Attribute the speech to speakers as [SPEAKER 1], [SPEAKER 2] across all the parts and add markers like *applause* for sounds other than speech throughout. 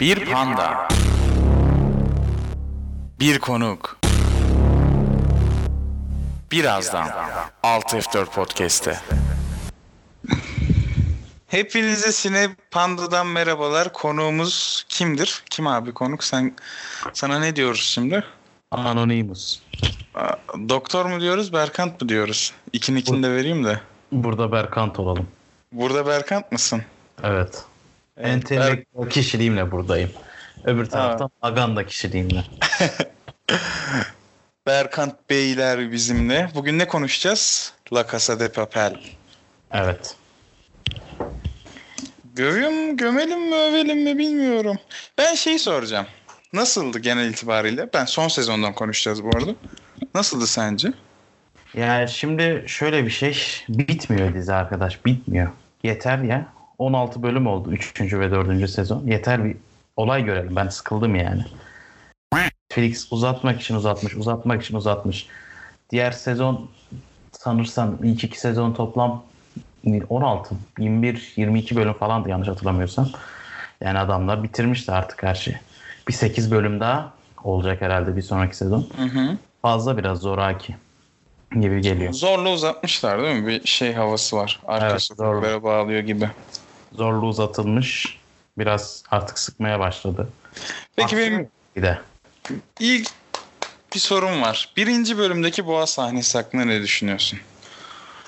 [SPEAKER 1] Bir panda. Bir konuk. Birazdan 6F4 Podcast'te.
[SPEAKER 2] Hepinize Sine Panda'dan merhabalar. Konuğumuz kimdir? Kim abi konuk? Sen sana ne diyoruz şimdi?
[SPEAKER 3] Anonymous.
[SPEAKER 2] Aa, Doktor mu diyoruz, Berkant mı diyoruz? İkininkini de vereyim de.
[SPEAKER 3] Burada Berkant olalım.
[SPEAKER 2] Burada Berkant mısın?
[SPEAKER 3] Evet.
[SPEAKER 2] Evet,
[SPEAKER 3] Entelektüel kişiliğimle buradayım. Öbür taraftan Aganda kişiliğimle.
[SPEAKER 2] Berkant Beyler bizimle. Bugün ne konuşacağız? La Casa de Papel.
[SPEAKER 3] Evet.
[SPEAKER 2] Gövüm, gömelim mi, övelim mi bilmiyorum. Ben şeyi soracağım. Nasıldı genel itibariyle? Ben son sezondan konuşacağız bu arada. Nasıldı sence?
[SPEAKER 3] Yani şimdi şöyle bir şey. Bitmiyor dizi arkadaş. Bitmiyor. Yeter ya. 16 bölüm oldu 3. ve 4. sezon. Yeter bir olay görelim. Ben sıkıldım yani. Felix uzatmak için uzatmış. Uzatmak için uzatmış. Diğer sezon sanırsam ilk iki sezon toplam 16, 21, 22 bölüm falandı yanlış hatırlamıyorsam. Yani adamlar bitirmişti artık her şeyi. Bir 8 bölüm daha olacak herhalde bir sonraki sezon.
[SPEAKER 2] Hı hı.
[SPEAKER 3] Fazla biraz zoraki gibi geliyor.
[SPEAKER 2] Zorla uzatmışlar değil mi? Bir şey havası var. Arka
[SPEAKER 3] Evet,
[SPEAKER 2] sokaklara bağlıyor gibi.
[SPEAKER 3] zorlu uzatılmış. Biraz artık sıkmaya başladı.
[SPEAKER 2] Peki
[SPEAKER 3] Baktın
[SPEAKER 2] benim
[SPEAKER 3] mı? bir de
[SPEAKER 2] ilk bir sorum var. Birinci bölümdeki boğa sahnesi hakkında ne düşünüyorsun?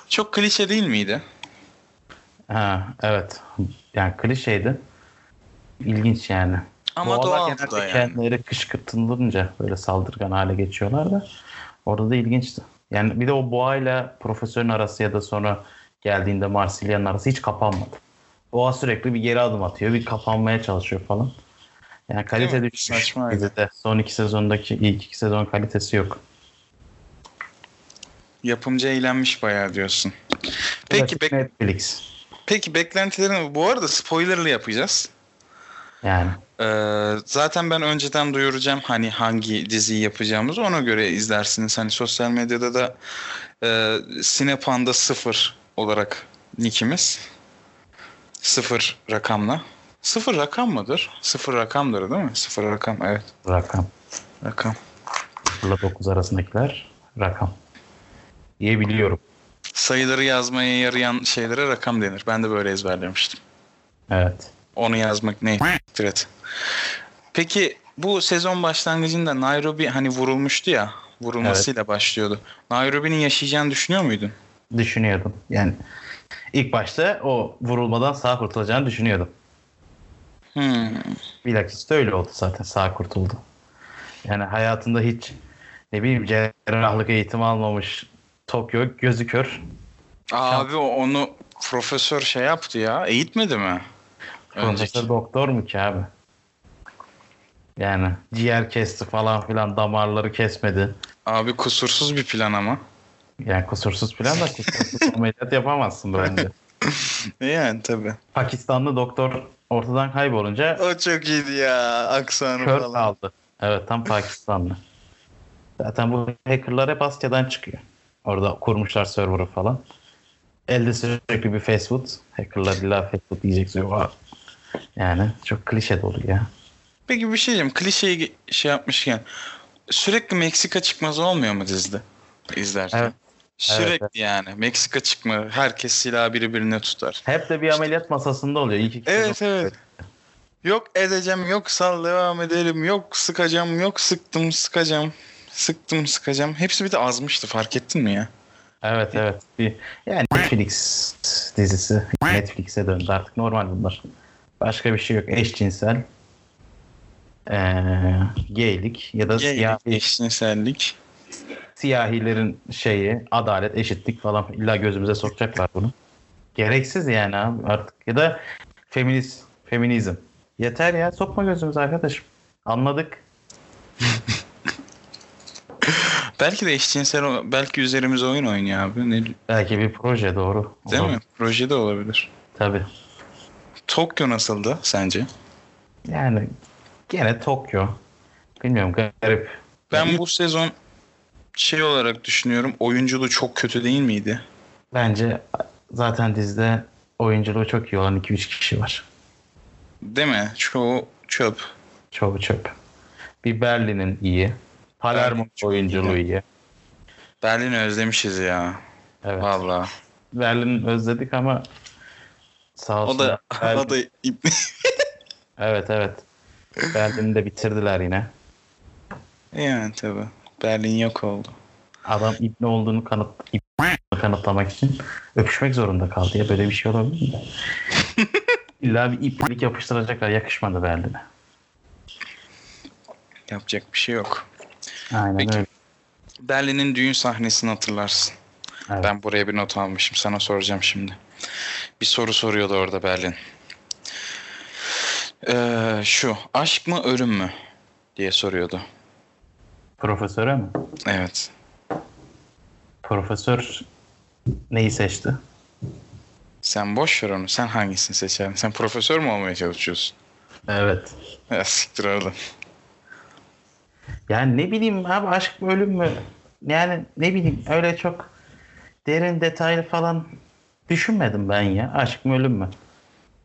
[SPEAKER 2] Çok klişe değil miydi?
[SPEAKER 3] ha evet. Yani klişeydi. İlginç yani.
[SPEAKER 2] Ama
[SPEAKER 3] Boğalar
[SPEAKER 2] doğal
[SPEAKER 3] genelde
[SPEAKER 2] da yani.
[SPEAKER 3] kendileri kışkırtılınca böyle saldırgan hale geçiyorlar da orada da ilginçti. Yani bir de o boğayla profesörün arası ya da sonra geldiğinde Marsilya'nın arası hiç kapanmadı. Boğa sürekli bir geri adım atıyor, bir kapanmaya çalışıyor falan. Yani
[SPEAKER 2] Değil
[SPEAKER 3] kalite
[SPEAKER 2] mi?
[SPEAKER 3] düşmüş
[SPEAKER 2] Saçmaydı.
[SPEAKER 3] dizide. Son iki sezondaki ilk iki sezon kalitesi yok.
[SPEAKER 2] Yapımcı eğlenmiş bayağı diyorsun. Peki,
[SPEAKER 3] Klasik
[SPEAKER 2] bek-
[SPEAKER 3] Netflix.
[SPEAKER 2] peki beklentilerin bu arada spoilerlı yapacağız.
[SPEAKER 3] Yani
[SPEAKER 2] Ee, zaten ben önceden duyuracağım hani hangi diziyi yapacağımızı ona göre izlersiniz. Hani sosyal medyada da e, Sinepanda 0 olarak nickimiz. Sıfır rakamla. Sıfır rakam mıdır? Sıfır rakamdır değil mi? Sıfır rakam evet
[SPEAKER 3] rakam.
[SPEAKER 2] rakam.
[SPEAKER 3] 0 9 arasındakiler rakam. Diye biliyorum.
[SPEAKER 2] Sayıları yazmaya yarayan şeylere rakam denir. Ben de böyle ezberlemiştim.
[SPEAKER 3] Evet.
[SPEAKER 2] Onu yazmak ne? Evet. Peki bu sezon başlangıcında Nairobi hani vurulmuştu ya. Vurulmasıyla başlıyordu. Nairobi'nin yaşayacağını düşünüyor muydun?
[SPEAKER 3] Düşünüyordum. Yani ilk başta o vurulmadan sağ kurtulacağını düşünüyordum.
[SPEAKER 2] Hmm.
[SPEAKER 3] Bilakis de öyle oldu zaten. Sağ kurtuldu. Yani hayatında hiç ne bileyim cerrahlık eğitimi almamış Tokyo gözü kör.
[SPEAKER 2] Abi o- onu profesör şey yaptı ya. Eğitmedi mi? Önceki.
[SPEAKER 3] Profesör doktor mu ki abi? Yani ciğer kesti falan filan damarları kesmedi.
[SPEAKER 2] Abi kusursuz bir plan ama.
[SPEAKER 3] Yani kusursuz falan *laughs* da kusursuz ameliyat yapamazsın bence.
[SPEAKER 2] Yani tabii.
[SPEAKER 3] Pakistanlı doktor ortadan kaybolunca
[SPEAKER 2] O çok iyiydi ya. Aksanı
[SPEAKER 3] kör
[SPEAKER 2] falan.
[SPEAKER 3] kaldı. Evet tam Pakistanlı. Zaten bu hackerlar hep Asya'dan çıkıyor. Orada kurmuşlar server'ı falan. Elde sürekli bir fast food. Hackerlar illa fast food yiyecek diyor. Yani çok klişe dolu ya.
[SPEAKER 2] Peki bir şey diyeceğim. Klişeyi şey yapmışken sürekli Meksika çıkmazı olmuyor mu dizide? İzlerken.
[SPEAKER 3] Evet.
[SPEAKER 2] Sürekli yani. Meksika çıkma. Herkes silahı birbirine tutar.
[SPEAKER 3] Hep de bir ameliyat masasında oluyor. İlk iki
[SPEAKER 2] Evet
[SPEAKER 3] sezon-
[SPEAKER 2] evet. Yok edeceğim, yok sal devam edelim, yok sıkacağım, yok sıktım sıkacağım, sıktım sıkacağım. Hepsi bir de azmıştı fark ettin mi ya?
[SPEAKER 3] Evet evet. Bir, yani Netflix dizisi. Netflix'e döndü artık. Normal bunlar. Başka bir şey yok. Eşcinsel. Ee, geylik ya da
[SPEAKER 2] Geylik,
[SPEAKER 3] siyahi,
[SPEAKER 2] eşcinsellik.
[SPEAKER 3] siyahilerin şeyi adalet eşitlik falan illa gözümüze sokacaklar bunu. Gereksiz yani abi artık ya da feminist feminizm. Yeter ya sokma gözümüze arkadaşım. Anladık.
[SPEAKER 2] Belki de eşcinsel, o- belki üzerimize oyun oynuyor abi. Ne, değil
[SPEAKER 3] Belki bir proje doğru.
[SPEAKER 2] mi? Projede olabilir.
[SPEAKER 3] Tabii.
[SPEAKER 2] Tokyo nasıldı sence?
[SPEAKER 3] Yani gene Tokyo. Bilmiyorum garip.
[SPEAKER 2] Ben bu sezon şey olarak düşünüyorum. Oyunculuğu çok kötü değil miydi?
[SPEAKER 3] Bence zaten dizide oyunculuğu çok iyi olan 2-3 kişi var.
[SPEAKER 2] Değil mi? Çoğu çöp.
[SPEAKER 3] Çoğu çöp. Bir Berlin'in iyi. Palermo
[SPEAKER 2] Berlin çok
[SPEAKER 3] oyunculuğu iyi.
[SPEAKER 2] Berlin'i özlemişiz ya.
[SPEAKER 3] Evet.
[SPEAKER 2] Vallahi.
[SPEAKER 3] Berlin'i özledik ama sağ
[SPEAKER 2] O
[SPEAKER 3] olsun.
[SPEAKER 2] da *laughs* o da
[SPEAKER 3] Evet evet. Berlin'i de bitirdiler yine.
[SPEAKER 2] *laughs* yani tabii. Berlin yok oldu.
[SPEAKER 3] Adam ibne olduğunu kanıt ibne kanıtlamak için öpüşmek zorunda kaldı ya böyle bir şey
[SPEAKER 2] *laughs*
[SPEAKER 3] olabilir mi? İlla bir iplik yapıştıracaklar yakışmadı Berlin'e.
[SPEAKER 2] Yapacak bir şey yok.
[SPEAKER 3] Aynen
[SPEAKER 2] Peki.
[SPEAKER 3] öyle.
[SPEAKER 2] Berlin'in düğün sahnesini hatırlarsın.
[SPEAKER 3] Evet.
[SPEAKER 2] Ben buraya bir not almışım. Sana soracağım şimdi. Bir soru soruyordu orada Berlin. Ee, şu aşk mı ölüm mü diye soruyordu.
[SPEAKER 3] Profesöre mi?
[SPEAKER 2] Evet.
[SPEAKER 3] Profesör neyi seçti?
[SPEAKER 2] Sen boş ver onu. Sen hangisini seçerdin? Sen profesör mü olmaya çalışıyorsun? *laughs*
[SPEAKER 3] Evet.
[SPEAKER 2] Ya siktir oğlum.
[SPEAKER 3] Yani ne bileyim abi aşk mı ölüm mü? Yani ne bileyim öyle çok derin detaylı falan düşünmedim ben ya. Aşk mı ölüm mü?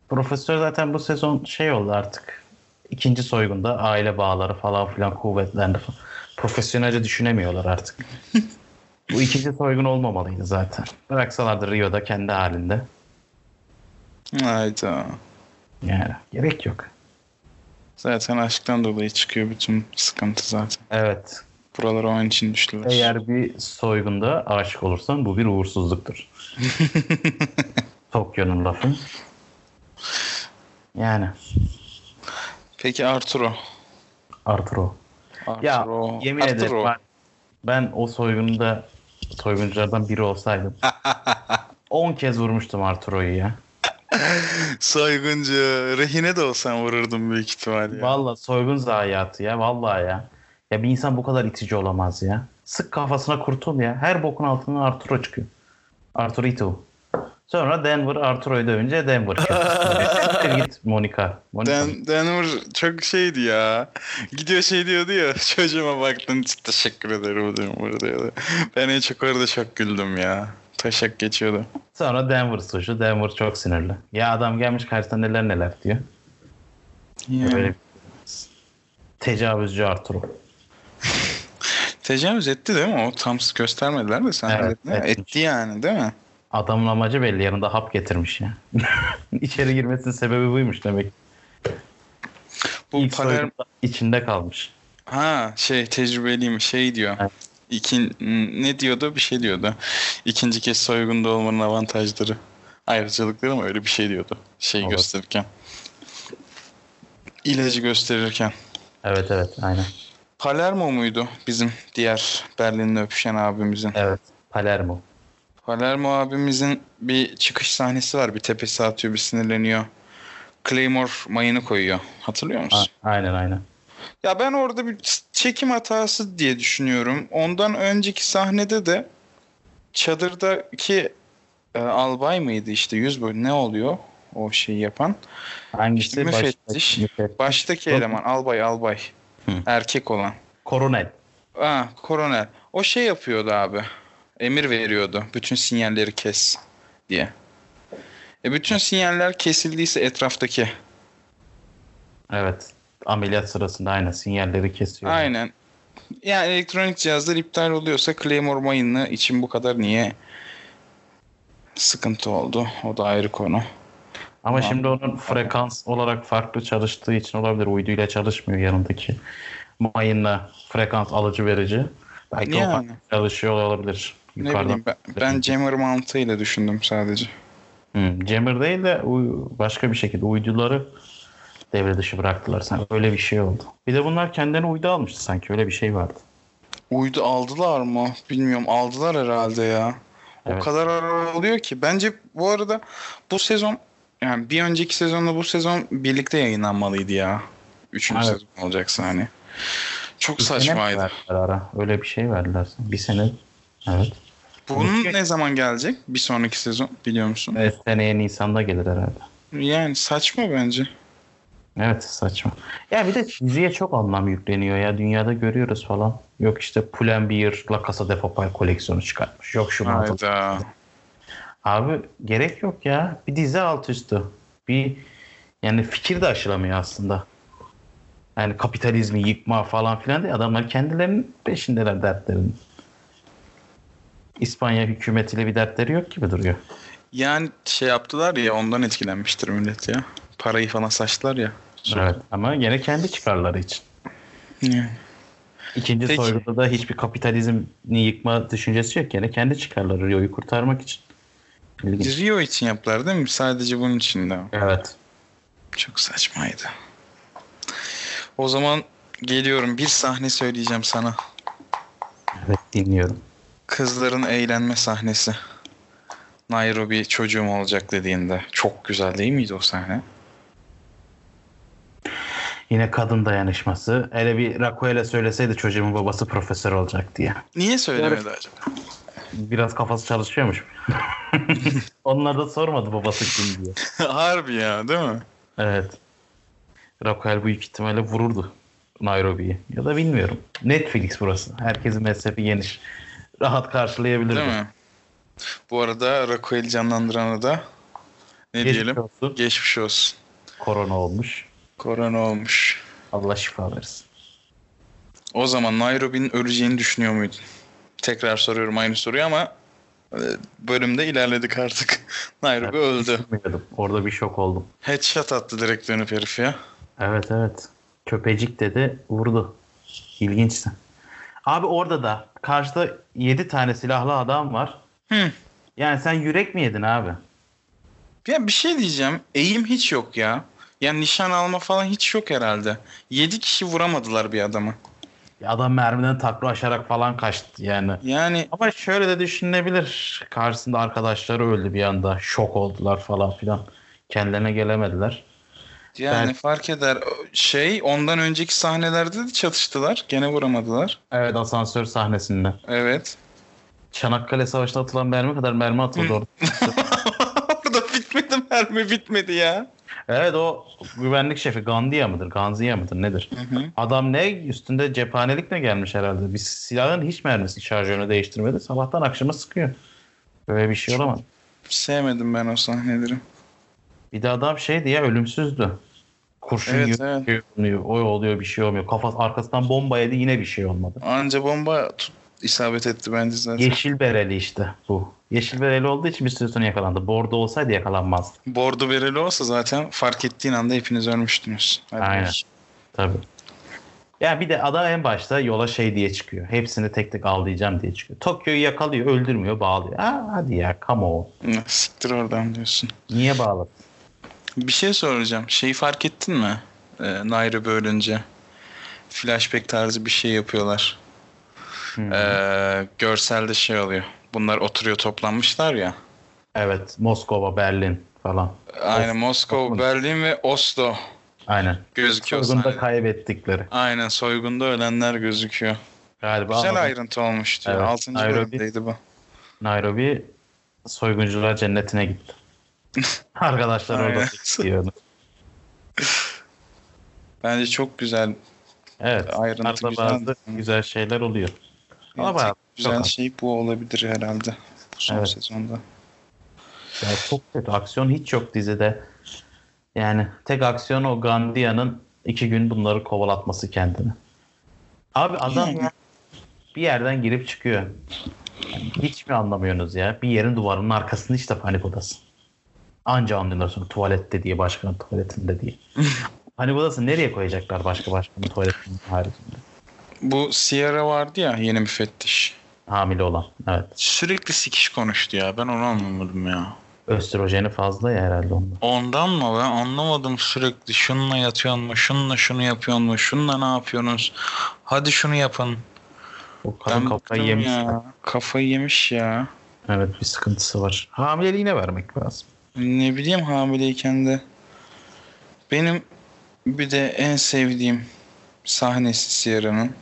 [SPEAKER 3] Profesör zaten bu sezon şey oldu artık. ikinci soygunda aile bağları falan filan kuvvetlendi falan. Profesyonelce düşünemiyorlar artık. *laughs* bu ikinci soygun olmamalıydı zaten. Bıraksalardı Rio'da kendi halinde.
[SPEAKER 2] Hayda.
[SPEAKER 3] Yani gerek yok.
[SPEAKER 2] Zaten aşktan dolayı çıkıyor bütün sıkıntı zaten.
[SPEAKER 3] Evet.
[SPEAKER 2] Buralara onun için düştüler.
[SPEAKER 3] Eğer bir soygunda aşık olursan bu bir
[SPEAKER 2] *laughs*
[SPEAKER 3] uğursuzluktur. Tokyo'nun lafı. Yani
[SPEAKER 2] Peki Arturo.
[SPEAKER 3] Arturo. Ya
[SPEAKER 2] Arturo.
[SPEAKER 3] yemin ederim
[SPEAKER 2] Arturo.
[SPEAKER 3] ben, ben o soygunda soygunculardan biri olsaydım
[SPEAKER 2] *laughs*
[SPEAKER 3] 10 kez vurmuştum Arturo'yu ya.
[SPEAKER 2] Saygınca rehine de olsan vururdum büyük ihtimalle. ya.
[SPEAKER 3] Valla soygun zayiatı ya vallahi ya. Ya bir insan bu kadar itici olamaz ya. Sık kafasına kurtul ya. Her bokun altından Arturo çıkıyor. Arturo Ito. Sonra Denver Arturo'yu dövünce Denver.
[SPEAKER 2] *laughs*
[SPEAKER 3] Siktir git Monica. Monica.
[SPEAKER 2] Dan, Denver çok şeydi ya. Gidiyor şey diyordu ya. *laughs* Çocuğuma baktın teşekkür ederim Denver diyordu. Ben en çok orada çok güldüm ya. Taşak geçiyordu.
[SPEAKER 3] Sonra Denver suçu. Denver çok sinirli. Ya adam gelmiş karşısına neler neler diyor.
[SPEAKER 2] Yani.
[SPEAKER 3] Böyle tecavüzcü Arturo.
[SPEAKER 2] Tecavüz etti değil mi? O tam göstermediler de sen
[SPEAKER 3] Evet,
[SPEAKER 2] hallettin değil mi?
[SPEAKER 3] etmiş.
[SPEAKER 2] Etti yani değil mi?
[SPEAKER 3] Adamın amacı belli. Yanında hap getirmiş ya. *laughs* İçeri girmesinin sebebi buymuş demek.
[SPEAKER 2] Bu
[SPEAKER 3] İlk
[SPEAKER 2] Palermo-
[SPEAKER 3] soygunda içinde kalmış.
[SPEAKER 2] Ha şey tecrübeliyim şey diyor.
[SPEAKER 3] Evet.
[SPEAKER 2] İkin, ne diyordu? Bir şey diyordu. İkinci kez soygunda olmanın avantajları. Ayrıcalıkları mı öyle bir şey diyordu. Şey
[SPEAKER 3] Olabilir.
[SPEAKER 2] gösterirken. İlacı gösterirken.
[SPEAKER 3] Evet evet aynen.
[SPEAKER 2] Palermo muydu bizim diğer Berlin'le öpüşen abimizin?
[SPEAKER 3] Evet. Palermo.
[SPEAKER 2] Palermo abimizin bir çıkış sahnesi var. Bir tepesi atıyor, bir sinirleniyor. Claymore mayını koyuyor. Hatırlıyor musun?
[SPEAKER 3] A- aynen aynen.
[SPEAKER 2] Ya ben orada bir çekim hatası diye düşünüyorum. Ondan önceki sahnede de çadırdaki e, albay mıydı işte yüz boyu ne oluyor o şeyi yapan?
[SPEAKER 3] Hangisi?
[SPEAKER 2] İşte müfettiş.
[SPEAKER 3] Baştaki- müfettiş.
[SPEAKER 2] Baştaki
[SPEAKER 3] Yok.
[SPEAKER 2] eleman albay albay
[SPEAKER 3] Hı.
[SPEAKER 2] erkek olan.
[SPEAKER 3] Koronel.
[SPEAKER 2] Aa koroner. O şey yapıyordu abi. Emir veriyordu. Bütün sinyalleri kes diye. E bütün sinyaller kesildiyse etraftaki.
[SPEAKER 3] Evet. Ameliyat sırasında aynen sinyalleri kesiyor.
[SPEAKER 2] Aynen. Yani elektronik cihazlar iptal oluyorsa Claymore mayını için bu kadar niye sıkıntı oldu? O da ayrı konu.
[SPEAKER 3] Ama
[SPEAKER 2] Tamam.
[SPEAKER 3] şimdi onun frekans olarak farklı çalıştığı için olabilir. Uyduyla çalışmıyor yanındaki. Mayınla frekans alıcı verici. Belki o
[SPEAKER 2] Yani.
[SPEAKER 3] farklı çalışıyor olabilir.
[SPEAKER 2] Ne
[SPEAKER 3] Yukarıdan.
[SPEAKER 2] bileyim ben, ben jammer mantığıyla düşündüm sadece.
[SPEAKER 3] Hmm, jammer değil de uy- başka bir şekilde uyduları devre dışı bıraktılar. Sanki öyle bir şey oldu. Bir de bunlar kendilerine uydu almıştı sanki. Öyle bir şey vardı.
[SPEAKER 2] Uydu aldılar mı? Bilmiyorum aldılar herhalde ya. O
[SPEAKER 3] Evet.
[SPEAKER 2] kadar ara oluyor ki. Bence bu arada bu sezon yani bir önceki sezonla bu sezon birlikte yayınlanmalıydı ya. Üçüncü
[SPEAKER 3] Evet.
[SPEAKER 2] sezon olacaksa hani. Çok
[SPEAKER 3] Bir sene mi
[SPEAKER 2] saçmaydı.
[SPEAKER 3] verdiler Ara. Öyle bir şey verdiler. sanki. Bir sene. Evet.
[SPEAKER 2] Bunun
[SPEAKER 3] Peki.
[SPEAKER 2] ne zaman gelecek? Bir sonraki sezon biliyor musun?
[SPEAKER 3] evet. Seneye Nisan'da gelir herhalde.
[SPEAKER 2] Yani saçma bence.
[SPEAKER 3] Evet saçma. Ya bir de diziye çok anlam yükleniyor ya. Dünyada görüyoruz falan. Yok işte Pull&Bear La Casa de Papel koleksiyonu çıkartmış. Yok şu mantık.
[SPEAKER 2] Hayda.
[SPEAKER 3] Abi gerek yok ya. Bir dizi alt üstü. Bir yani fikir de aşılamıyor aslında. Yani kapitalizmi yıkma falan filan diye adamlar kendilerinin peşindeler dertlerinin. İspanya hükümetiyle bir dertleri yok gibi duruyor.
[SPEAKER 2] Yani şey yaptılar ya ondan etkilenmiştir millet ya. Parayı falan saçtılar ya.
[SPEAKER 3] Evet. Ama gene kendi çıkarları için.
[SPEAKER 2] Yani.
[SPEAKER 3] İkinci
[SPEAKER 2] Peki.
[SPEAKER 3] soyguda da hiçbir kapitalizmi yıkma düşüncesi yok. Gene kendi çıkarları Rio'yu kurtarmak için. İlginç.
[SPEAKER 2] Rio için yaptılar değil mi? Sadece bunun için de.
[SPEAKER 3] Evet.
[SPEAKER 2] Çok saçmaydı. O zaman geliyorum. Bir sahne söyleyeceğim sana.
[SPEAKER 3] Evet dinliyorum.
[SPEAKER 2] Kızların eğlenme sahnesi. Nairobi çocuğum olacak dediğinde. Çok güzel değil miydi o sahne?
[SPEAKER 3] Yine kadın dayanışması. Hele bir Raquel'e söyleseydi çocuğumun babası profesör olacak diye.
[SPEAKER 2] Niye söylemedi acaba?
[SPEAKER 3] Biraz kafası çalışıyormuş. *laughs* Onlar da sormadı babası kim diye.
[SPEAKER 2] *laughs* Harbi ya değil mi?
[SPEAKER 3] Evet. Raquel büyük ihtimalle vururdu Nairobi'yi. Ya da bilmiyorum. Netflix burası. Herkesin mezhebi geniş. Rahat karşılayabilir.
[SPEAKER 2] Değil mi? Bu arada Raquel canlandırana da ne diyelim?
[SPEAKER 3] olsun.
[SPEAKER 2] Geçmiş olsun.
[SPEAKER 3] Korona olmuş.
[SPEAKER 2] Korona olmuş.
[SPEAKER 3] Allah şifa versin.
[SPEAKER 2] O zaman Nairobi'nin öleceğini düşünüyor muydun? Tekrar soruyorum aynı soruyu ama e, bölümde ilerledik artık. *laughs* Nairobi öldü.
[SPEAKER 3] Bilmiyordum. Orada bir şok oldum.
[SPEAKER 2] Headshot attı direkt dönüp herif ya.
[SPEAKER 3] Evet evet. Köpecik dedi vurdu. İlginçti. Abi orada da karşıda 7 tane silahlı adam var.
[SPEAKER 2] Hı.
[SPEAKER 3] Yani sen yürek mi yedin abi?
[SPEAKER 2] Ya bir şey diyeceğim. Eğim hiç yok ya. Yani nişan alma falan hiç yok herhalde. 7 kişi vuramadılar bir adamı.
[SPEAKER 3] Adam mermiden takla aşarak falan kaçtı yani.
[SPEAKER 2] Yani
[SPEAKER 3] Ama şöyle de düşünülebilir. Karşısında arkadaşları öldü bir anda. Şok oldular falan filan. Kendilerine gelemediler.
[SPEAKER 2] yani
[SPEAKER 3] Ben-
[SPEAKER 2] fark eder. Şey ondan önceki sahnelerde de çatıştılar. Gene vuramadılar.
[SPEAKER 3] Evet asansör sahnesinde.
[SPEAKER 2] Evet. *laughs*
[SPEAKER 3] Çanakkale Savaşı'nda atılan mermi kadar mermi atıldı orada.
[SPEAKER 2] Burada bitmedi mermi bitmedi ya.
[SPEAKER 3] Evet o güvenlik şefi Gandia mıdır? Ganzia mıdır? Nedir?
[SPEAKER 2] hı.
[SPEAKER 3] Adam ne? Üstünde cephanelikle gelmiş herhalde. Biz silahın hiç mermisini şarjörünü değiştirmedi. Sabahtan akşama sıkıyor. Böyle bir şey olamaz.
[SPEAKER 2] Sevmedim ben o sahneleri.
[SPEAKER 3] Bir de adam şeydi ya ölümsüzdü. Kurşun
[SPEAKER 2] Evet,
[SPEAKER 3] yiyor,
[SPEAKER 2] evet.
[SPEAKER 3] şey olmuyor, o oluyor bir şey olmuyor. Kafası arkasından bomba yedi yine bir şey olmadı.
[SPEAKER 2] Anca bomba tut- isabet etti bence zaten.
[SPEAKER 3] Yeşil bereli işte bu. Yeşil bereli olduğu için bir süre sonra yakalandı. Bordo olsaydı yakalanmazdı.
[SPEAKER 2] Bordo bereli olsa zaten fark ettiğin anda hepiniz ölmüştünüz. Hadi
[SPEAKER 3] Aynen.
[SPEAKER 2] bakayım.
[SPEAKER 3] Tabii. Ya bir de adam en başta yola şey diye çıkıyor. Hepsini tek tek avlayacağım diye çıkıyor. Tokyo'yu yakalıyor, öldürmüyor, bağlıyor. Aa, hadi ya, come on.
[SPEAKER 2] Ne, Siktir oradan diyorsun.
[SPEAKER 3] Niye bağladın?
[SPEAKER 2] Bir şey soracağım. Şeyi fark ettin mi? Ee, Nairobi ölünce. Flashback tarzı bir şey yapıyorlar.
[SPEAKER 3] Hmm.
[SPEAKER 2] Ee, görselde şey oluyor. Bunlar oturuyor toplanmışlar ya.
[SPEAKER 3] Evet, Moskova, Berlin falan.
[SPEAKER 2] Aynen Moskova,
[SPEAKER 3] Osman.
[SPEAKER 2] Berlin ve Oslo
[SPEAKER 3] Aynen.
[SPEAKER 2] gözüküyor.
[SPEAKER 3] Soygunda
[SPEAKER 2] sahnede.
[SPEAKER 3] kaybettikleri.
[SPEAKER 2] Aynen soygunda ölenler gözüküyor.
[SPEAKER 3] Galiba
[SPEAKER 2] Güzel
[SPEAKER 3] ama
[SPEAKER 2] ayrıntı olmuştu.
[SPEAKER 3] Evet,
[SPEAKER 2] 6.
[SPEAKER 3] Nairobi.
[SPEAKER 2] bölümdeydi bu.
[SPEAKER 3] Nairobi soyguncular cennetine
[SPEAKER 2] *laughs*
[SPEAKER 3] gitti. Arkadaşlar orada
[SPEAKER 2] Aynen.
[SPEAKER 3] bekliyordu.
[SPEAKER 2] Bence çok güzel
[SPEAKER 3] Evet.
[SPEAKER 2] Ayrıntı
[SPEAKER 3] arada
[SPEAKER 2] güzel.
[SPEAKER 3] bazı güzel şeyler oluyor. Ama
[SPEAKER 2] Ama
[SPEAKER 3] bayağı
[SPEAKER 2] güzel
[SPEAKER 3] çok
[SPEAKER 2] şey bu olabilir herhalde bu son
[SPEAKER 3] Evet.
[SPEAKER 2] sezonda.
[SPEAKER 3] Ya çok kötü. Aksiyon hiç yok dizide. Yani tek aksiyon o Gandia'nın iki gün bunları kovalatması kendini. Abi adam
[SPEAKER 2] Yani.
[SPEAKER 3] bir yerden girip çıkıyor. Yani hiç mi anlamıyorsunuz ya? Bir yerin duvarının arkasında işte panik odası. Anca anlıyorlar sonra tuvalette diye başkanın tuvaletinde diye. panik odası nereye koyacaklar başka başkanın tuvaletinin haricinde?
[SPEAKER 2] Bu Sierra vardı ya yeni müfettiş.
[SPEAKER 3] Hamile olan. Evet.
[SPEAKER 2] Sürekli sikiş konuştu ya ben onu anlamadım ya.
[SPEAKER 3] Östrojeni fazla ya herhalde onda.
[SPEAKER 2] Ondan mı ben anlamadım sürekli şununla yatıyorsun mu şununla şunu yapıyorsun mu şununla ne yapıyorsunuz hadi şunu yapın.
[SPEAKER 3] O kadın
[SPEAKER 2] ben
[SPEAKER 3] kafayı
[SPEAKER 2] bıktım
[SPEAKER 3] yemiş.
[SPEAKER 2] ya. Kafayı yemiş ya.
[SPEAKER 3] Evet bir sıkıntısı var. Hamileliğine vermek lazım.
[SPEAKER 2] Ne bileyim hamileyken de. Benim bir de en sevdiğim sahnesi Sierra'nın.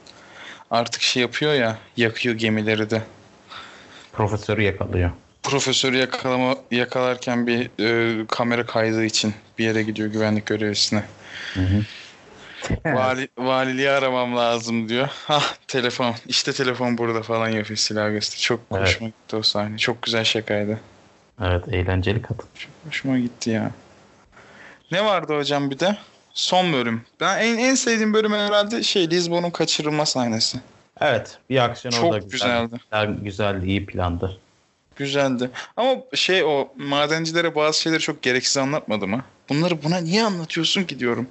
[SPEAKER 2] Artık şey yapıyor ya yakıyor gemileri de.
[SPEAKER 3] Profesörü yakalıyor.
[SPEAKER 2] profesörü yakalama yakalarken bir e, kamera kaydı için bir yere gidiyor güvenlik görevlisine. Vali, valiliği aramam lazım diyor. Hah telefon. İşte telefon burada falan yapıyor silah göster. Çok
[SPEAKER 3] Evet.
[SPEAKER 2] hoşuma gitti o sahne. Çok güzel şakaydı.
[SPEAKER 3] Evet eğlenceli kadın.
[SPEAKER 2] Çok hoşuma gitti ya. Ne vardı hocam bir de? Son bölüm. Ben en, en sevdiğim bölüm herhalde şey Lisbon'un kaçırılma sahnesi.
[SPEAKER 3] Evet bir aksiyon
[SPEAKER 2] Çok
[SPEAKER 3] orada güzel.
[SPEAKER 2] güzeldi.
[SPEAKER 3] Güzel, güzel, iyi plandı.
[SPEAKER 2] Güzeldi. Ama şey o madencilere bazı şeyleri çok gereksiz anlatmadı mı? Bunları buna niye anlatıyorsun ki diyorum.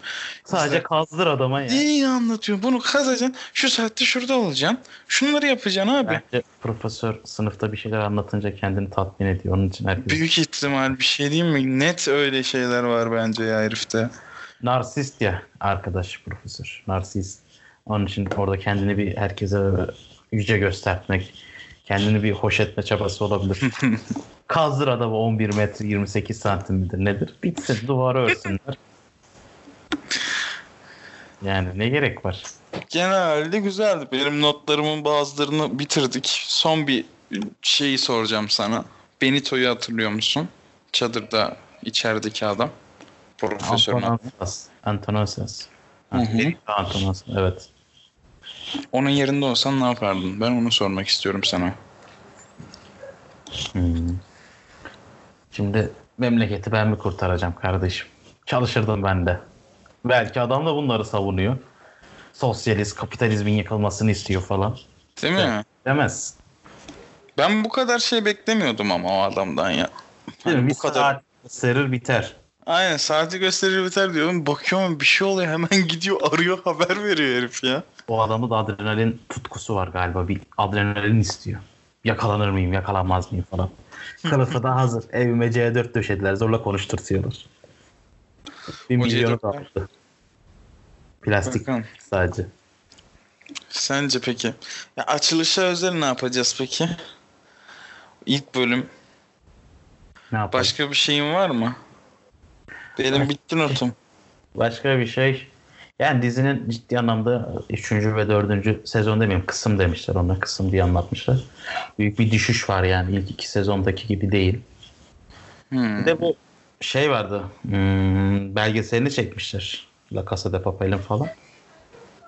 [SPEAKER 3] Sadece
[SPEAKER 2] Güzel.
[SPEAKER 3] kazdır adama ya.
[SPEAKER 2] Niye anlatıyorsun? Bunu kazacaksın. Şu saatte şurada olacaksın. Şunları yapacaksın abi.
[SPEAKER 3] Bence profesör sınıfta bir şeyler anlatınca kendini tatmin ediyor. Onun için herkes
[SPEAKER 2] Büyük ihtimal bir şey diyeyim mi? Net öyle şeyler var bence ya herifte.
[SPEAKER 3] narsist ya arkadaş profesör. Narsist. Onun için orada kendini bir herkese yüce göstermek, kendini bir hoş etme
[SPEAKER 2] *laughs*
[SPEAKER 3] çabası olabilir. Kazdır adamı 11 metre 28 santim midir nedir? Bitsin duvara örsünler. Yani ne gerek var?
[SPEAKER 2] Genelde güzeldi. Benim notlarımın bazılarını bitirdik. Son bir şeyi soracağım sana. Benito'yu hatırlıyor musun? Çadırda içerideki adam. Profesör.
[SPEAKER 3] Antonasas. Antonasas.
[SPEAKER 2] Hı hı.
[SPEAKER 3] Antonasas evet.
[SPEAKER 2] Onun yerinde olsan ne yapardın? Ben onu sormak istiyorum sana.
[SPEAKER 3] Hmm. Şimdi memleketi ben mi kurtaracağım kardeşim? Çalışırdım ben de. Belki adam da bunları savunuyor. Sosyalist, kapitalizmin yıkılmasını istiyor falan.
[SPEAKER 2] Değil mi?
[SPEAKER 3] Evet. Demez.
[SPEAKER 2] Ben bu kadar şey beklemiyordum ama o adamdan ya.
[SPEAKER 3] Değil mi?
[SPEAKER 2] Hani
[SPEAKER 3] Bir
[SPEAKER 2] bu kadar.
[SPEAKER 3] saat serir biter.
[SPEAKER 2] Aynen saati gösterir biter diyorum. Bakıyorum bir şey oluyor hemen *laughs* gidiyor arıyor haber veriyor herif ya.
[SPEAKER 3] O adamın da adrenalin tutkusu var galiba. Bir adrenalin istiyor. Yakalanır mıyım, yakalanmaz mıyım falan. Kılıfı
[SPEAKER 2] *laughs*
[SPEAKER 3] da hazır. Evime C4 döşediler. Zorla konuşturtuyorlar. Bir
[SPEAKER 2] O
[SPEAKER 3] milyonu da
[SPEAKER 2] C4 'ler.
[SPEAKER 3] aldı. Plastik
[SPEAKER 2] Bakalım.
[SPEAKER 3] sadece.
[SPEAKER 2] Sence peki? Ya açılışa özel ne yapacağız peki? İlk bölüm.
[SPEAKER 3] Ne yapalım?
[SPEAKER 2] Başka bir şeyin var mı? Benim bitti notum.
[SPEAKER 3] Başka bir şey. Yani dizinin ciddi anlamda 3. ve 4. sezon demeyeyim kısım demişler ona kısım diye anlatmışlar. Büyük bir düşüş var yani ilk iki sezondaki gibi değil.
[SPEAKER 2] Hmm.
[SPEAKER 3] Bir de bu şey vardı hmm, belgeselini çekmişler La Casa de Papel'in falan.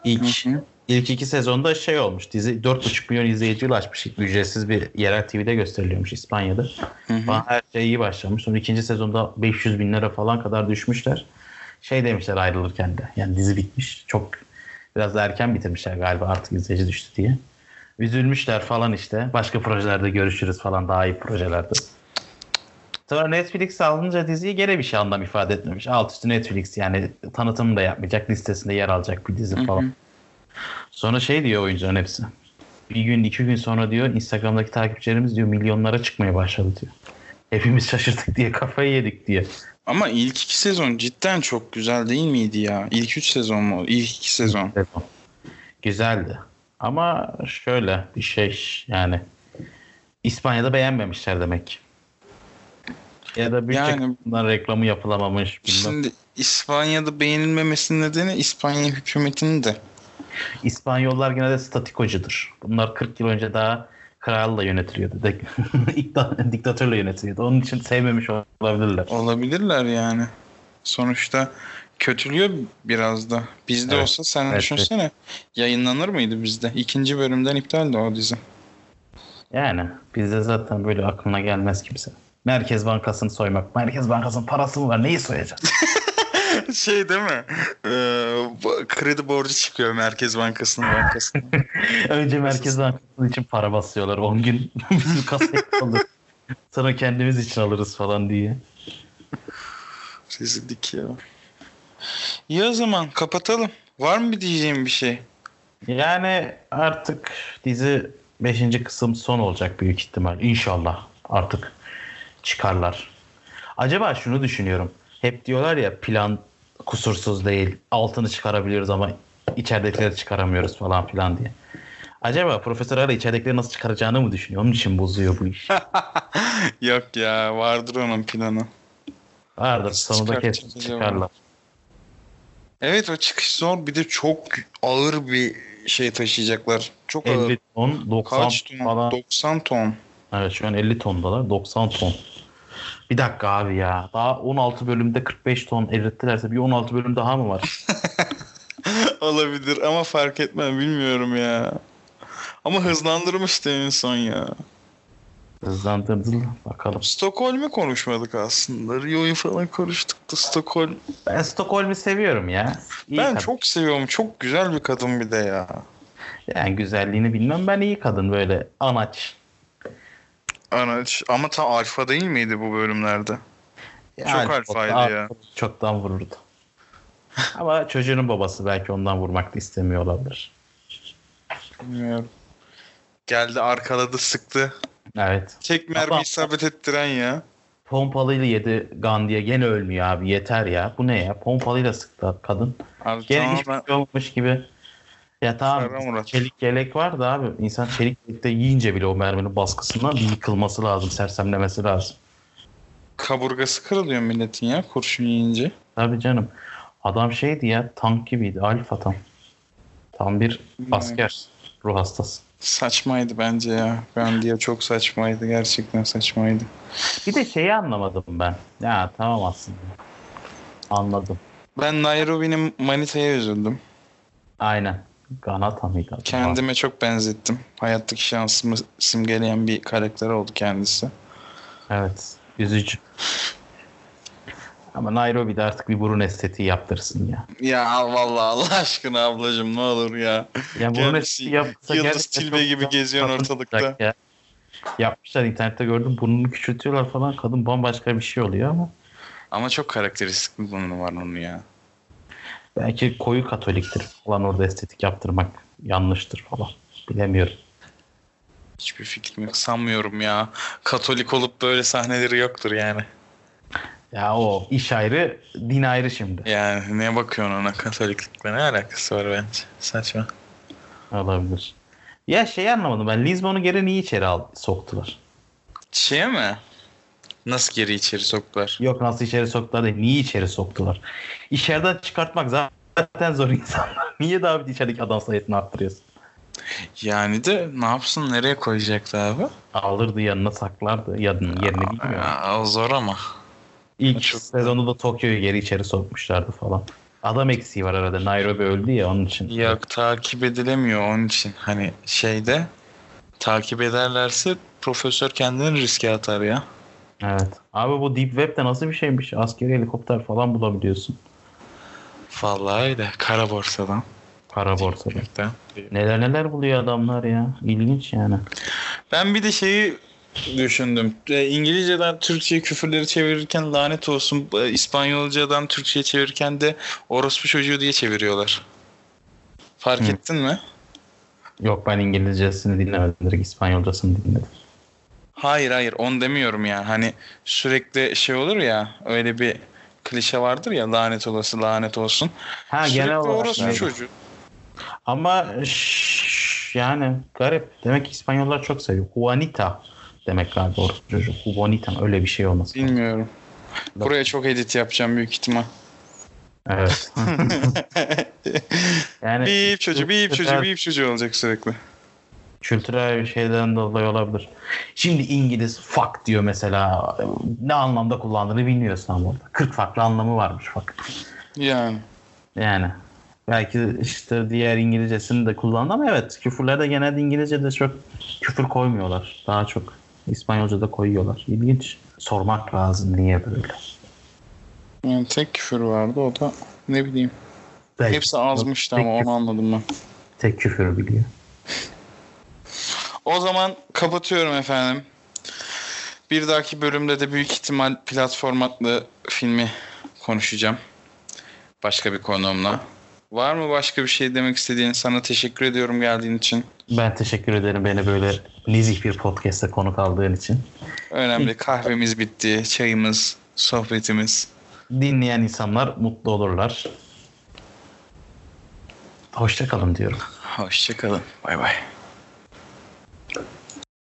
[SPEAKER 3] İlk,
[SPEAKER 2] Hı hı.
[SPEAKER 3] ilk iki sezonda şey olmuş dizi 4,5 milyon izleyiciyle açmış ücretsiz bir yerel TV'de gösteriliyormuş İspanya'da.
[SPEAKER 2] Hı hı.
[SPEAKER 3] Falan her şey iyi başlamış. Sonra ikinci sezonda 500 bin lira falan kadar düşmüşler. Şey demişler ayrılırken de. Yani dizi bitmiş. Çok biraz da erken bitirmişler galiba artık izleyici düştü diye. Üzülmüşler falan işte. Başka projelerde görüşürüz falan daha iyi projelerde. Sonra Netflix alınca diziye gene bir şey anlam ifade etmemiş. Alt üstü Netflix yani tanıtım da yapmayacak. Listesinde yer alacak bir dizi falan. Sonra şey diyor oyuncuların hepsi. Bir gün iki gün sonra diyor Instagram'daki takipçilerimiz diyor milyonlara çıkmaya başladı diyor. Hepimiz şaşırdık diye kafayı yedik diye.
[SPEAKER 2] Ama ilk iki sezon cidden çok güzel değil miydi ya? İlk üç sezon mu? İlk iki sezon.
[SPEAKER 3] Devam. Güzeldi. Ama şöyle bir şey yani İspanya'da beğenmemişler demek. ki. Ya da bütçe
[SPEAKER 2] Yani-
[SPEAKER 3] kısmından reklamı yapılamamış. bilmem.
[SPEAKER 2] Şimdi İspanya'da beğenilmemesinin nedeni İspanya hükümetinin de.
[SPEAKER 3] İspanyollar genelde statikocudur. Bunlar 40 yıl önce daha kralla yönetiliyordu. De- *laughs* İkta- Diktatörle yönetiliyordu. Onun için sevmemiş olabilirler.
[SPEAKER 2] Olabilirler yani. Sonuçta kötülüyor biraz da. Bizde
[SPEAKER 3] Evet.
[SPEAKER 2] olsa sen
[SPEAKER 3] Evet,
[SPEAKER 2] düşünsene. Yayınlanır mıydı bizde? İkinci bölümden iptaldi o dizi.
[SPEAKER 3] Yani bizde zaten böyle aklına gelmez kimse. Merkez Bankası'nı soymak. Merkez Bankası'nın parası mı var? Neyi soyacağız?
[SPEAKER 2] *laughs*
[SPEAKER 3] *laughs*
[SPEAKER 2] Şey değil mi? Ee, bu- kredi borcu çıkıyor Merkez Bankası'nın *laughs* bankasına.
[SPEAKER 3] Önce Merkez Bankası için para basıyorlar. 10 gün *laughs* bizim kasaya kalır. Sonra kendimiz için alırız falan diye.
[SPEAKER 2] Rezillik ya. İyi o zaman kapatalım. Var mı bir diyeceğim bir şey?
[SPEAKER 3] Yani artık dizi 5. kısım son olacak büyük ihtimal. İnşallah artık çıkarlar. Acaba şunu düşünüyorum. Hep diyorlar ya plan kusursuz değil. Altını çıkarabiliyoruz ama içeridekileri çıkaramıyoruz falan filan diye. Acaba Profesör Ara içeridekileri nasıl çıkaracağını mı düşünüyor? Onun için bozuyor bu iş.
[SPEAKER 2] *laughs* Yok ya vardır onun planı.
[SPEAKER 3] Vardır sonunda
[SPEAKER 2] Çıkartacak
[SPEAKER 3] kesin
[SPEAKER 2] acaba?
[SPEAKER 3] çıkarlar.
[SPEAKER 2] Evet o çıkış zor. Bir de çok ağır bir şey taşıyacaklar. Çok ağır.
[SPEAKER 3] 50 ton, 90
[SPEAKER 2] Kaç ton?
[SPEAKER 3] falan.
[SPEAKER 2] 90 ton.
[SPEAKER 3] Evet şu an 50 tondalar. 90 ton. Bir dakika abi ya. Daha 16 bölümde 45 ton erittilerse bir 16 bölüm daha mı var?
[SPEAKER 2] *laughs* Olabilir ama fark etmem bilmiyorum ya. Ama hızlandırmıştı en son ya.
[SPEAKER 3] Hızlandırdı bakalım.
[SPEAKER 2] Stockholm'u konuşmadık aslında. Rio'yu falan konuştuk da Stockholm.
[SPEAKER 3] Ben Stockholm'u seviyorum ya. İyi
[SPEAKER 2] ben
[SPEAKER 3] kadın.
[SPEAKER 2] çok seviyorum. Çok güzel bir kadın bir de ya.
[SPEAKER 3] Yani güzelliğini bilmem ben iyi kadın böyle anaç.
[SPEAKER 2] Anaç. Ama ta alfa değil miydi bu bölümlerde? Çok
[SPEAKER 3] Yani
[SPEAKER 2] alfaydı
[SPEAKER 3] daha-
[SPEAKER 2] ya.
[SPEAKER 3] Çoktan vururdu. Ama çocuğunun babası belki ondan vurmak da istemiyor olabilir.
[SPEAKER 2] Bilmiyorum. Geldi arkaladı sıktı.
[SPEAKER 3] Evet.
[SPEAKER 2] Tek mermi
[SPEAKER 3] Ama-
[SPEAKER 2] isabet ettiren ya.
[SPEAKER 3] Pompalıyla yedi Gandhi'ye gene ölmüyor abi yeter ya. Bu ne ya? Pompalıyla sıktı kadın.
[SPEAKER 2] Abi
[SPEAKER 3] Gene
[SPEAKER 2] tamam
[SPEAKER 3] hiçbir
[SPEAKER 2] ben-
[SPEAKER 3] şey olmamış gibi. Ya tamam
[SPEAKER 2] Ferhan Murat.
[SPEAKER 3] çelik yelek var da abi insan çelik yelekte yiyince bile o merminin baskısından bir yıkılması lazım, sersemlemesi lazım.
[SPEAKER 2] kaburgası kırılıyor milletin ya kurşun yiyince.
[SPEAKER 3] Tabii canım. Adam şeydi ya tank gibiydi. Alfa tam. Tam bir
[SPEAKER 2] Hmm.
[SPEAKER 3] asker. Ruh hastası.
[SPEAKER 2] Saçmaydı bence ya. Ben diye çok saçmaydı. Gerçekten saçmaydı.
[SPEAKER 3] Bir de şeyi anlamadım ben. Ya tamam aslında. Anladım.
[SPEAKER 2] Ben Nairobi'nin manitaya üzüldüm.
[SPEAKER 3] Aynen. Ganata mıydı? adı?
[SPEAKER 2] Kendime çok benzettim. Hayattaki şansımı simgeleyen bir karakter oldu kendisi.
[SPEAKER 3] Evet. Üzücü. Ama Nairobi'de artık bir burun estetiği yaptırsın ya.
[SPEAKER 2] Ya vallahi Allah aşkına ablacığım ne olur ya.
[SPEAKER 3] Yani burun
[SPEAKER 2] Gerçi
[SPEAKER 3] estetiği yaptırsa
[SPEAKER 2] şey, Yıldız
[SPEAKER 3] gerçekten
[SPEAKER 2] Tilbe
[SPEAKER 3] çok
[SPEAKER 2] gibi
[SPEAKER 3] güzel
[SPEAKER 2] geziyorsun
[SPEAKER 3] kadın
[SPEAKER 2] ortalıkta.
[SPEAKER 3] olacak ya. Yapmışlar internette gördüm burnunu küçültüyorlar falan kadın bambaşka bir şey oluyor ama
[SPEAKER 2] Ama çok karakteristik bir burnu var onun ya.
[SPEAKER 3] belki koyu katoliktir falan orada estetik yaptırmak yanlıştır falan bilemiyorum.
[SPEAKER 2] Hiçbir fikrim yok. Sanmıyorum ya. Katolik olup böyle sahneleri yoktur yani.
[SPEAKER 3] Ya o iş ayrı din ayrı şimdi.
[SPEAKER 2] Yani ne bakıyorsun ona katoliklikle ne alakası var bence. Saçma.
[SPEAKER 3] Olabilir. Ya şey anlamadım ben Lisbon'u geri niye içeri al, soktular?
[SPEAKER 2] Şeye mi? Nasıl geri içeri soktular?
[SPEAKER 3] Yok nasıl içeri soktular değil niye içeri soktular? İçeriden çıkartmak zaten zor insanlar. *laughs* niye daha bir içerideki adam sayısını arttırıyorsun?
[SPEAKER 2] Yani de ne yapsın nereye koyacaktı abi?
[SPEAKER 3] Alırdı yanına saklardı yanının yerini bilmiyor.
[SPEAKER 2] Ya, o zor ama.
[SPEAKER 3] İlk
[SPEAKER 2] çok-
[SPEAKER 3] sezonda da Tokyo'yu geri içeri sokmuşlardı falan. Adam eksiği var arada. Nairobi öldü ya onun için.
[SPEAKER 2] Yok takip edilemiyor onun için. Hani şeyde takip ederlerse profesör kendini riske atar ya.
[SPEAKER 3] Evet. Abi bu Deep Web'de nasıl bir şeymiş? Askeri helikopter falan bulabiliyorsun.
[SPEAKER 2] Vallahi öyle. Kara borsadan.
[SPEAKER 3] Para
[SPEAKER 2] şey
[SPEAKER 3] borsada. Neler neler buluyor adamlar ya. İlginç yani.
[SPEAKER 2] Ben bir de şeyi düşündüm. E, İngilizceden Türkçe'ye küfürleri çevirirken lanet olsun. e, İspanyolcadan Türkçe'ye çevirirken de orospu çocuğu diye çeviriyorlar. Fark
[SPEAKER 3] Hı.
[SPEAKER 2] ettin mi?
[SPEAKER 3] Yok ben İngilizcesini dinlemedim. Direkt İspanyolcasını dinledim.
[SPEAKER 2] Hayır hayır onu demiyorum ya. Hani sürekli şey olur ya öyle bir klişe vardır ya lanet olası lanet olsun.
[SPEAKER 3] Ha
[SPEAKER 2] sürekli
[SPEAKER 3] genel olarak.
[SPEAKER 2] orospu
[SPEAKER 3] öyle.
[SPEAKER 2] çocuğu.
[SPEAKER 3] Ama şş, yani garip. Demek ki İspanyollar çok seviyor. Juanita demek galiba orospu çocuğu. Juanita öyle bir şey olmasın.
[SPEAKER 2] Bilmiyorum. Buraya çok edit yapacağım büyük ihtimal. *laughs*
[SPEAKER 3] Evet. yani
[SPEAKER 2] Bip çocuğu, bip çocuğu,
[SPEAKER 3] Evet.
[SPEAKER 2] bip çocuğu olacak sürekli.
[SPEAKER 3] kültürel bir şeyden dolayı olabilir. Şimdi İngiliz fuck diyor mesela. Ne anlamda kullandığını bilmiyorsun ama orada. 40 farklı anlamı varmış fuck.
[SPEAKER 2] Yani.
[SPEAKER 3] Yani belki işte diğer İngilizcesini de kullandı ama evet küfürlerde genelde İngilizce'de çok küfür koymuyorlar. Daha çok İspanyolca'da koyuyorlar. İlginç. Sormak lazım niye böyle.
[SPEAKER 2] yani tek küfür vardı o da ne bileyim.
[SPEAKER 3] Belki
[SPEAKER 2] Hepsi azmıştı
[SPEAKER 3] Tek
[SPEAKER 2] ama
[SPEAKER 3] küfür-
[SPEAKER 2] onu anladım ben.
[SPEAKER 3] Tek küfürü biliyor.
[SPEAKER 2] O zaman kapatıyorum efendim. Bir dahaki bölümde de büyük ihtimal platformatlı filmi konuşacağım. Başka bir konuğumla. Var mı başka bir şey demek istediğin? Sana teşekkür ediyorum geldiğin için.
[SPEAKER 3] Ben teşekkür ederim beni böyle nezih bir podcast'e konuk aldığın için.
[SPEAKER 2] Önemli. Kahvemiz bitti. Çayımız, sohbetimiz.
[SPEAKER 3] dinleyen insanlar mutlu olurlar. Hoşça kalın diyorum.
[SPEAKER 2] Hoşçakalın. Bay bay.